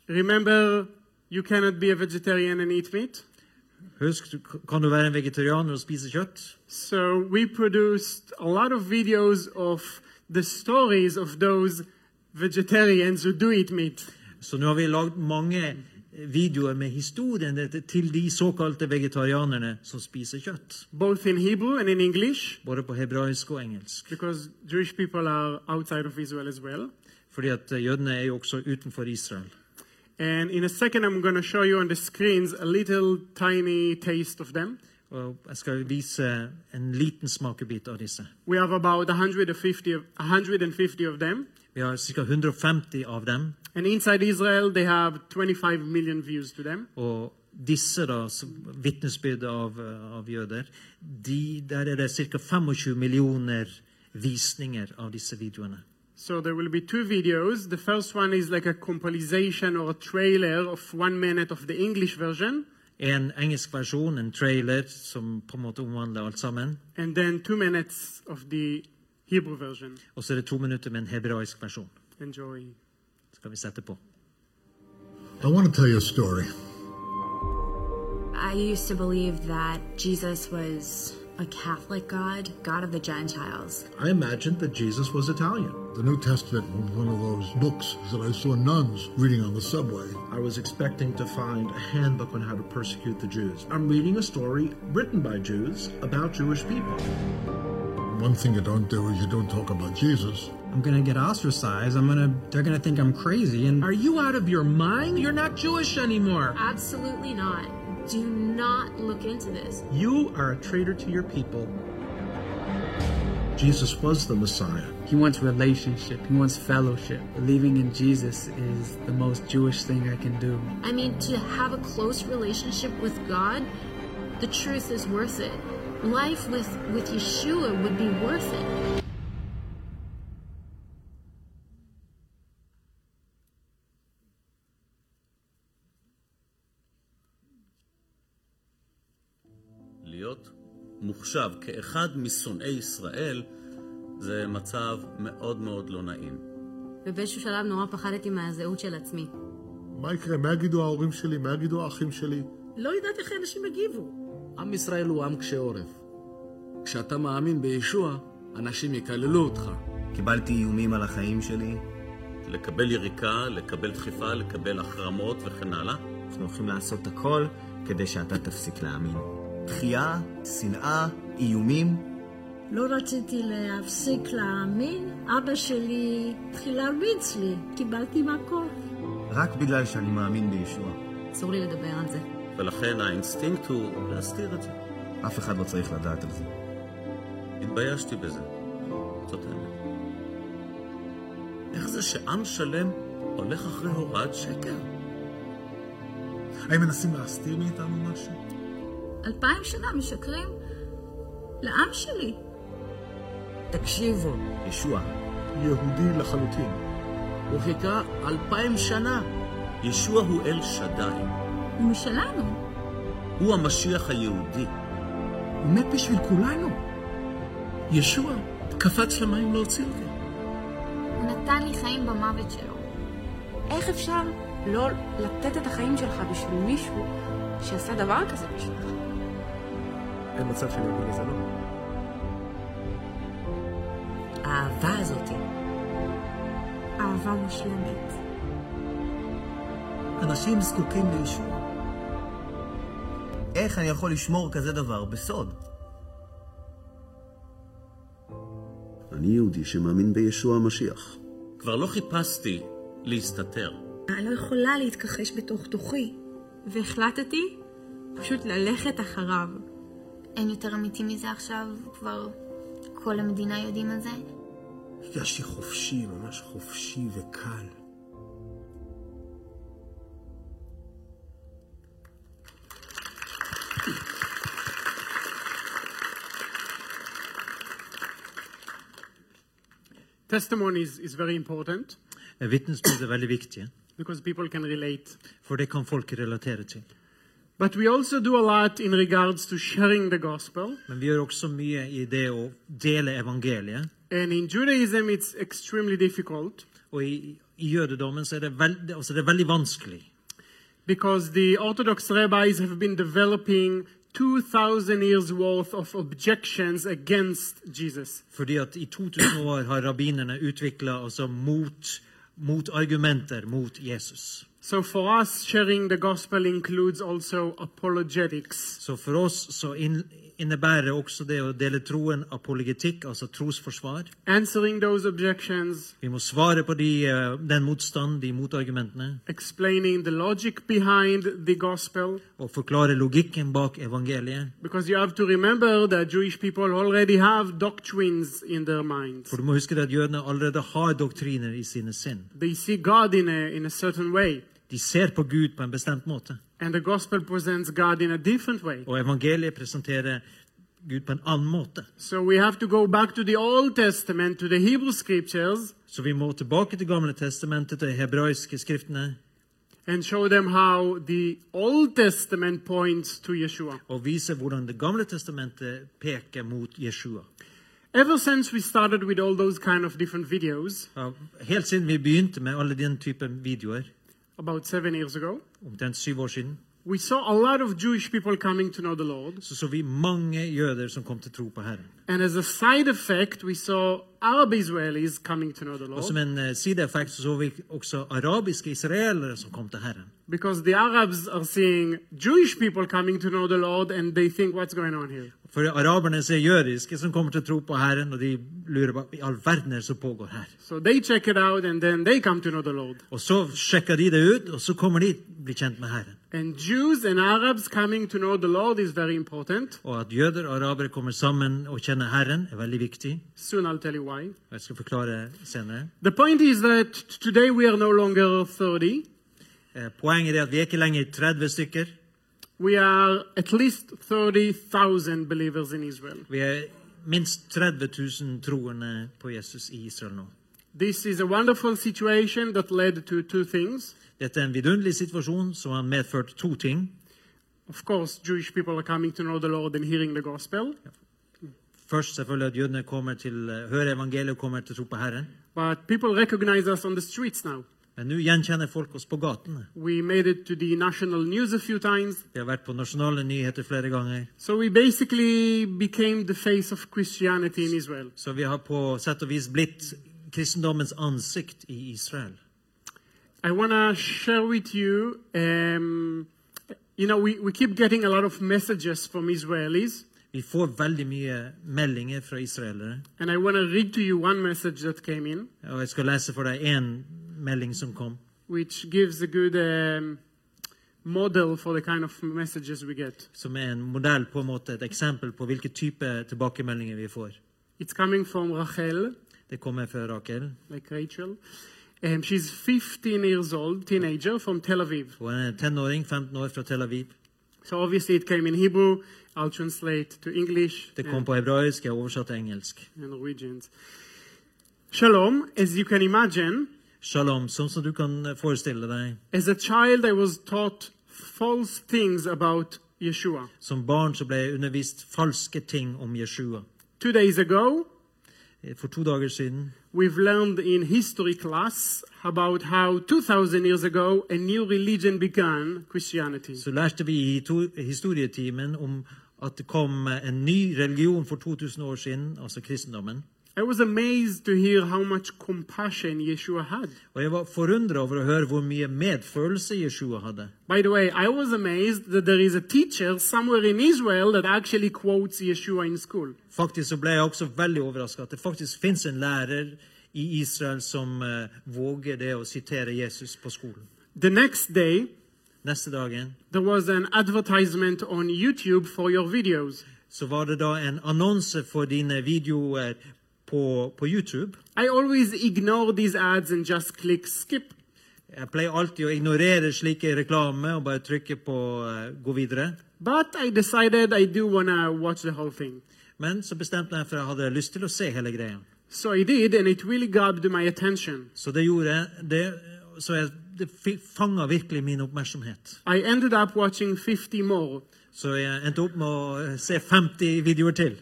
Remember, you cannot be a vegetarian and eat meat. Husk, du, kan du være en vegetarianer og spise kjøtt? So we produced a lot of videos of the stories of those vegetarians who do eat meat. Så nå har vi lagd mange videoer med historiene til de såkalte vegetarianerne som spiser kjøtt. Both in Hebrew and in English, Både på hebraisk og engelsk. because Jewish people are outside of Israel as well. Fordi at eh, jødene er jo også utenfor Israel. And in a second, I'm going to show you on the screens a little tiny taste of them. Og jeg skal vise en liten smakebit av disse. We have about 150 of, 150 of them. Vi har ca. 150 av dem. And inside Israel, they have 25 million views to them. Og disse, da, som vitnesbyrd av, eh, av jøder, de, der er det ca. 25 millioner visninger av disse videoene. So there will be two videos. The first one is like a compilation or a trailer of one minute of the English version, En engelsk versjon, en trailer, som på en måte omhandler alt sammen. and then two minutes of the Hebrew version. Og så er det to minutter med en hebraisk versjon. Enjoy. Skal vi sette på. I want to tell you a story. I used to believe that Jesus was a Catholic God, God of the Gentiles. I imagined that Jesus was Italian. The New Testament was one of those books that I saw nuns reading on the subway. I was expecting to find a handbook on how to persecute the Jews. I'm reading a story written by Jews about Jewish people. One thing you don't do is you don't talk about Jesus. I'm gonna get ostracized. I'm gonna they're gonna think I'm crazy and Are you out of your mind? You're not Jewish anymore. Absolutely not. Do not look into this. You are a traitor to your people. Jesus was the Messiah. He wants relationship, he wants fellowship. Believing in Jesus is the most Jewish thing I can do. I mean, to have a close relationship with God, the truth is worth it. Life with, with Yeshua would be worth it. להיות מוחשב כאחד משונאי ישראל זה מצב מאוד מאוד לא נעים. ובאיזשהו שלב נורא פחדתי מהזהות של עצמי. מה יקרה? מה יגידו ההורים שלי? מה יגידו האחים שלי? לא יודעת איך אנשים יגיבו. עם ישראל הוא עם קשה עורף. כשאתה מאמין בישוע, אנשים יקללו אותך. קיבלתי איומים על החיים שלי. לקבל יריקה, לקבל דחיפה, לקבל החרמות וכן הלאה. אנחנו הולכים לעשות הכל כדי שאתה תפסיק להאמין. דחייה, שנאה, איומים. לא רציתי להפסיק להאמין. אבא שלי התחיל להרביץ לי. קיבלתי מכות. רק בגלל שאני מאמין בישוע. אסור לי לדבר על זה. ולכן האינסטינקט הוא להסתיר את זה. אף אחד לא צריך לדעת על זה. התביישתי בזה. זאת האמת. איך זה שעם שלם הולך אחרי הוראת שקר? האם מנסים להסתיר מאיתנו משהו? אלפיים שנה משקרים לעם שלי. ישוע. יהודי לחלוטין. הוא חיכה אלפיים שנה. ישוע הוא אל שדי, הוא משלנו. הוא המשיח היהודי. הוא מת בשביל כולנו. ישוע קפץ למים להוציא אותי. הוא נתן לי חיים במוות שלו. איך אפשר לא לתת את החיים שלך בשביל מישהו שעשה דבר כזה בשבילך? אין מצב שאני אגיד לזה לא. האהבה הזאתי. אהבה מושלמת. אנשים זקוקים לישוע. איך אני יכול לשמור כזה דבר בסוד? אני יהודי שמאמין בישוע המשיח. כבר לא חיפשתי להסתתר. אני לא יכולה להתכחש בתוך תוכי, והחלטתי פשוט ללכת אחריו. אין יותר אמיתי מזה עכשיו, כבר כל המדינה יודעים על זה. הרגשתי חופשי, ממש חופשי וקל. Testimony is, is very important Vitnesbyrd Eh, er veldig viktige, because people can relate. for det kan folk relatere til. But we also do a lot in regards to sharing the gospel. Men vi gjør også mye i det å dele evangeliet. And in Judaism, it's extremely difficult Og i, i jødedommen så er det, veld, altså det er veldig vanskelig. because the Orthodox rabbis have been developing 2,000 years worth of objections against Jesus. Fordi at i 2000 år har rabbinerne utvikla altså mot, mot argumenter mot Jesus. So for us, sharing the gospel includes also apologetics. Så for oss så inn, innebærer også det å dele troen apologetikk, altså trosforsvar. Answering those objections, Vi må svare på de, eh, den motstand, de motargumentene, explaining the logic behind the gospel, og forklare logikken bak evangeliet. because you have to remember that Jewish people already have doctrines in their minds. For du må huske at jødene allerede har doktriner i sine sinn. They see God in a, in a certain way, De ser på Gud på en bestemt måte, and the gospel presents God in a different way. og evangeliet presenterer Gud på en annen måte. So we have to go back to the Old Testament, to the Hebrew scriptures, Så vi må tilbake til Gamle testamentet, til de hebraiske skriftene, and show them how the Old Testament points to Yeshua. og vise hvordan Det gamle testamentet peker mot Jeshua. Ever since we started with all those kind of different videos, Ja, Helt siden vi begynte med alle den typen videoer, about seven years ago, omtrent syv år siden, we saw a lot of Jewish people coming to know the Lord. så så vi mange jøder som kom til tro på Herren. And as a side effect, we saw Arab Israelis coming to know the Og som Lord. en eh, sideeffekt så, så vi også arabiske israelere som kom til Herren. Because the Arabs are seeing Jewish people coming to know the Lord and they think, what's going on here? For araberne ser jødiske som kommer til å tro på Herren, og de lurer på hva i all verden er det som pågår her. So they check it out and then they come to know the Lord. Og så sjekker de det ut, og så kommer de bli kjent med Herren. And Jews and Arabs coming to know the Lord is very important. Og at jøder og arabere kommer sammen og kjenner Herren, er veldig viktig. Soon I'll tell you why. Og Jeg skal forklare senere. The point is that today we are no longer 30. Eh, Poenget er at vi er ikke lenger 30 stykker. We are at least 30,000 believers in Israel. Vi er minst 30 000 troende på Jesus i Israel nå. This is a wonderful situation that led to two things. Dette er en vidunderlig situasjon som har medført to ting. Of course, Jewish people are coming to know the Lord and hearing the gospel, Først selvfølgelig at jødene kommer til eh, hører evangeliet og kommer til å tro på Herren. but people recognize us on the streets now. Men nå gjenkjenner folk oss på gatene. We made it to the national news a few times, Vi har vært på nasjonale nyheter flere ganger. so we basically became the face of Christianity in Israel. Så vi har på sett og vis blitt kristendommens ansikt i Israel. I want to share with you, um, you know, we, we keep getting a lot of messages from Israelis, Vi får veldig mye meldinger fra israelere. and I want to read to you one message that came in, Og jeg skal lese for deg én melding som kom, which gives a good um, model for the kind of messages we get. som er en modell, på en måte, et eksempel på hvilke type tilbakemeldinger vi får. It's coming from Rachel, Det kommer fra Rakel. like Rachel. Um, she's 15 years old, teenager from Tel Aviv. Hun er en tenåring, 15 år, fra Tel Aviv. So obviously it came in Hebrew. I'll translate to English Det kom and, på hebraisk, jeg har oversatt til engelsk. and Norwegians. Shalom, as you can imagine, Shalom, sånn som du kan forestille deg. As a child, I was taught false things about Yeshua. Som barn så ble jeg undervist falske ting om Jeshua. Two days ago, For to dager siden we've learned in history class about how 2,000 years ago a new religion began Christianity. så lærte vi i to- historietimen om at det kom en ny religion for 2000 år siden, altså kristendommen. I was amazed to hear how much compassion Yeshua had. Og jeg var forundra over å høre hvor mye medfølelse Jeshua hadde. By the way, I was amazed that there is a teacher somewhere in Israel that actually quotes Yeshua in school. Faktisk så ble jeg også veldig overraska at det faktisk fins en lærer i Israel som eh, våger det å sitere Jesus på skolen. The next day, Neste dagen there was an advertisement on YouTube for your videos. så var det da en annonse for dine videoer på, på YouTube. I always ignore these ads and just click skip. Jeg pleier alltid å ignorere slike reklame og bare trykke på eh, 'gå videre'. But I decided I do want to watch the whole thing. Men så bestemte jeg for jeg hadde lyst til å se hele greia. So I did, and it really grabbed my attention. Så det gjorde jeg. Det, så jeg, det fanga virkelig min oppmerksomhet. I ended up watching 50 more. Så jeg endte opp med å eh, se 50 videoer til.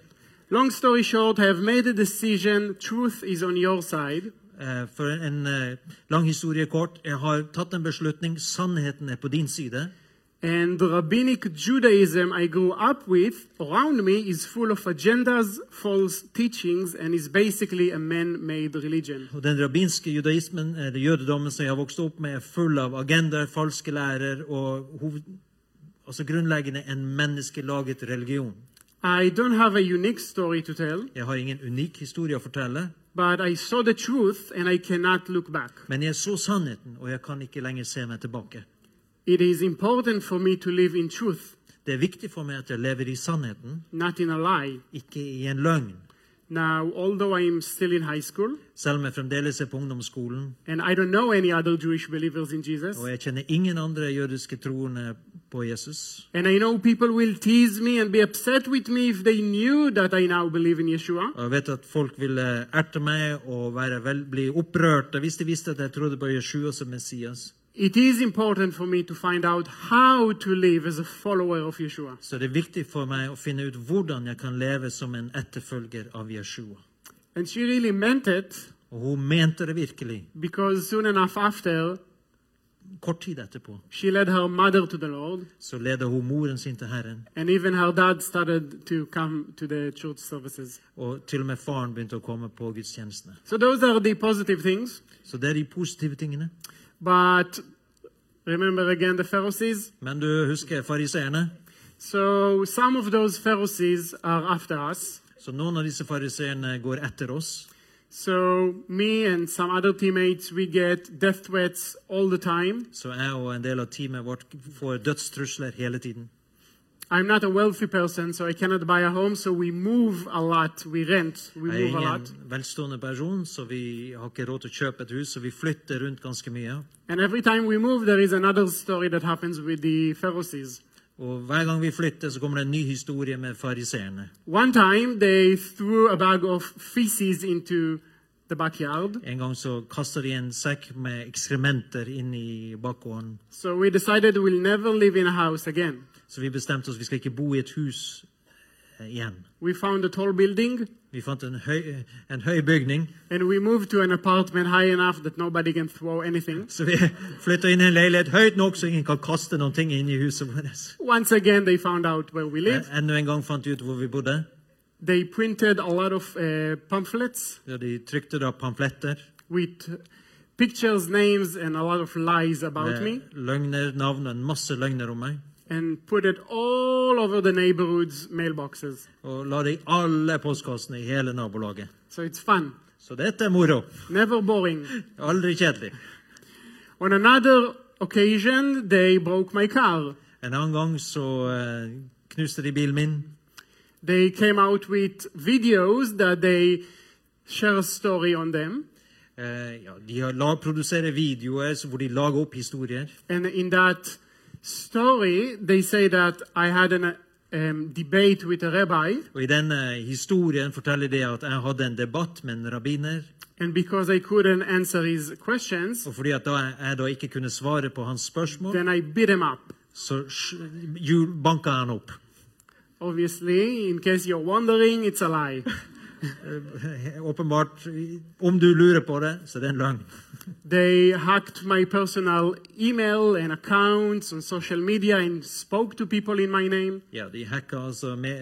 Long story short, I have made a decision. Truth is on your side. Eh, For en eh, lang historie kort. Jeg har tatt en beslutning. Sannheten er på din side. And the rabbinic Judaism I grew up with around me is full of agendas, false teachings, and is basically a man made religion. Og den rabbinske judaismen, eh, eller jødedommen som jeg har vokst opp med, er full av agendaer, falske lærer og hoved, altså grunnleggende en menneskelaget religion. I don't have a unique story to tell, Jeg har ingen unik historie å fortelle, but I saw the truth and I cannot look back. men jeg så sannheten, og jeg kan ikke lenger se meg tilbake. It is important for me to live in truth, Det er viktig for meg at jeg lever i sannheten, not in a lie. ikke i en løgn. Now, although I am still in high school Selv om jeg fremdeles er på ungdomsskolen, and I don't know any other Jewish believers in Jesus, og jeg kjenner ingen andre jødiske troende på Jesus. and I know people will tease me and be upset with me if they knew that I now believe in Yeshua. Og jeg vet at folk ville erte meg og være vel, bli opprørte hvis de visste at jeg trodde på Jeshua som Messias. It is important for me to find out how to live as a follower of Yeshua. Så det er viktig for meg å finne ut hvordan jeg kan leve som en etterfølger av Jeshua. And she really meant it Og hun mente det virkelig. because soon enough after, Kort tid etterpå she led her mother to the Lord, så leder hun moren sin til Herren, and even her dad started to come to the church services. og til og med faren begynte å komme på gudstjenestene. So those are the positive things. Så det er de positive tingene. But remember again the Pharisees? Men du husker fariseerne? So some of those Pharisees are after us. Så noen av disse fariseerne går etter oss. So me and some other teammates, we get death threats all the time. Så jeg og en del av teamet vårt får dødstrusler hele tiden. I'm not a wealthy person, so I cannot buy a home, so we move a lot. We rent, we Jeg er move a lot. ingen velstående person, så vi har ikke råd til å kjøpe et hus, så vi flytter rundt ganske mye. And every time we move, there is another story that happens with the Pharisees. Og hver gang vi flytter, så kommer det en ny historie med fariseerne. One time, they threw a bag of feces into the backyard, En gang så kaster de en sekk med ekskrementer inn i bakgården. so we decided we'll never live in a house again. Så vi bestemte oss vi skal ikke bo i et hus eh, igjen. We found a tall building, Vi fant en høy, en høy bygning, and we moved to an apartment high enough that nobody can throw anything. så vi flytta inn i en leilighet høyt nok så ingen kan kaste noen ting inn i huset vårt. Once again, they found out where we live. Enda en gang fant de ut hvor vi bodde. They printed a lot of uh, pamphlets Ja, de trykte da pamfletter with pictures, names, and a lot of lies about me. med løgner, navn og en masse løgner om meg. and put it all over the neighborhood's mailboxes. Og la det i alle postkassene i hele nabolaget. So it's fun, Så dette er moro. never boring. Aldri kjedelig. On another occasion, they broke my car. En annen gang så eh, knuste de bilen min. They came out with videos that they share a story on them, Eh, ja, de har la, produserer videoer så hvor de lager opp historier. and in that story, they say that I had an um, debate with a rabbi. Og I denne historien forteller de at jeg hadde en debatt med en rabbiner. And because I couldn't answer his questions, Og fordi at da jeg da ikke kunne svare på hans spørsmål, then I beat him up. så sj- hjul- banka jeg han opp. Obviously, in case you're wondering, it's a lie. Eh, Åpenbart, om du lurer på det, så det er en løgn. They hacked my personal email and accounts on social media and spoke to people in my name. Ja, De hacka altså med,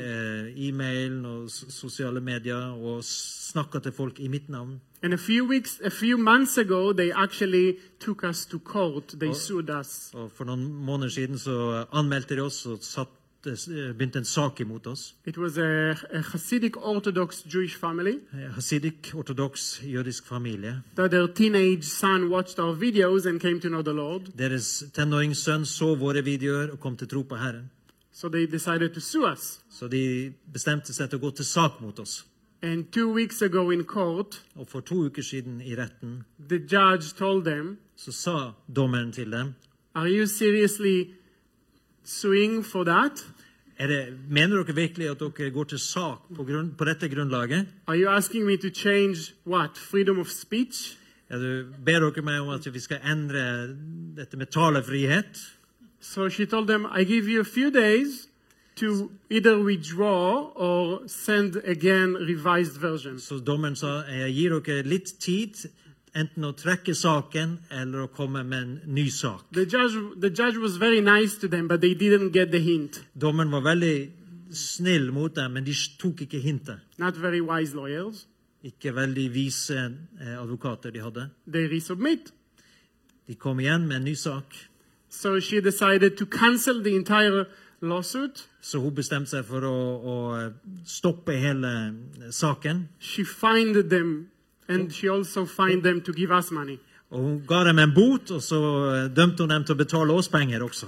eh, e-mailen og s- sosiale medier og snakka til folk i mitt navn. And a few weeks, a few months ago, they actually took us to court. They sued us. Og For noen måneder siden så eh, anmeldte de oss og satt, eh, begynte en sak imot oss. It was a, a Hasidic Orthodox Jewish family Eh, Hasidic, ortodoks jødisk familie. that their teenage son watched our videos and came to know the Lord. Deres tenåringssønn så våre videoer og kom til tro på Herren. So they decided to sue us. Så de bestemte seg til å gå til sak mot oss. And two weeks ago in court, Og for to uker siden i retten the judge told them, så sa dommeren til dem Are you seriously suing for that? er det, Mener dere virkelig at dere går til sak på, grunn, på dette grunnlaget? Are you asking me to change what? Freedom of speech? Ja, du ber dere meg om at vi skal endre dette med talefrihet. So she told them, I give you a few days to either withdraw or send again revised version. Så dommeren sa jeg gir dere litt tid, enten å trekke saken eller å komme med en ny sak. The judge, the judge was very nice to them, but they didn't get the hint. Dommeren var veldig snill mot dem, men de tok ikke hintet. Not very wise lawyers. Ikke veldig vise eh, advokater de hadde. They resubmit. De kom igjen med en ny sak, So she decided to cancel the entire lawsuit. så hun bestemte seg for å, å stoppe hele saken. She fined them, and she also fined them to give us money. Og hun ga dem en bot, og så eh, dømte hun dem til å betale oss penger også.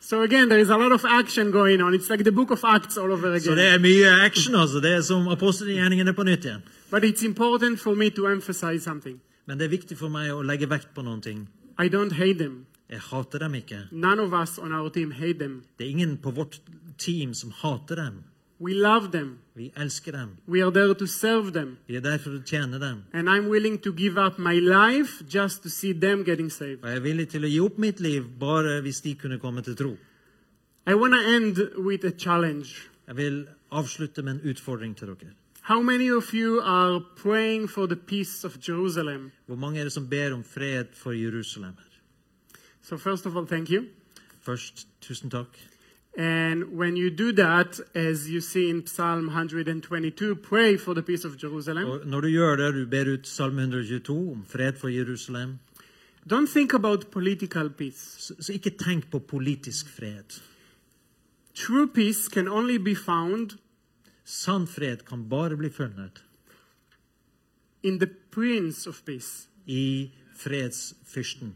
So again, there is a lot of action going on. It's like the book of Acts all over Så det again. er mye action, altså. Det er som apostelgjerningene på nytt igjen. But it's important for me to emphasize something. Men det er viktig for meg å legge vekt på noen ting. I don't hate them. Jeg hater dem ikke. None of us on our team hate them. Det er ingen på vårt team som hater dem. We love them. Vi elsker dem. We are there to serve them. Vi er der for å tjene dem. And I'm willing to give up my life just to see them getting saved. Og jeg er villig til å gi opp mitt liv bare hvis de kunne komme til tro. I want to end with a challenge. Jeg vil avslutte med en utfordring til dere. How many of you are praying for the peace of Jerusalem? Hvor mange er det som ber om fred for Jerusalem? So, first of all, thank you. Først, tusen takk. And when you do that, as you see in Psalm 122, pray for the peace of Jerusalem. Og når du gjør det, du ber ut Salme 122 om fred for Jerusalem, Don't think about political peace. så, så ikke tenk på politisk fred. True peace can only be found Sann fred kan bare bli funnet in the Prince of Peace, i fredsfyrsten,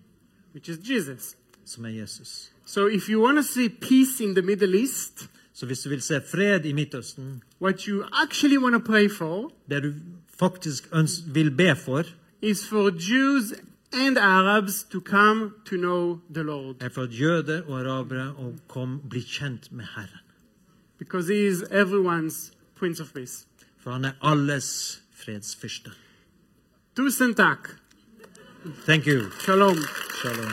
which is Jesus. som er Jesus. So, if you want to see peace in the Middle East, Så hvis du vil se fred i Midtøsten, what you actually want to pray for det du faktisk øns vil be for, is for Jews and Arabs to come to know the Lord. er for at jøder og arabere og kom bli kjent med Herren. because he is everyone's Prince of Peace. For han er alles fredsfyrste. Tusen tak. Thank you. Shalom. Shalom.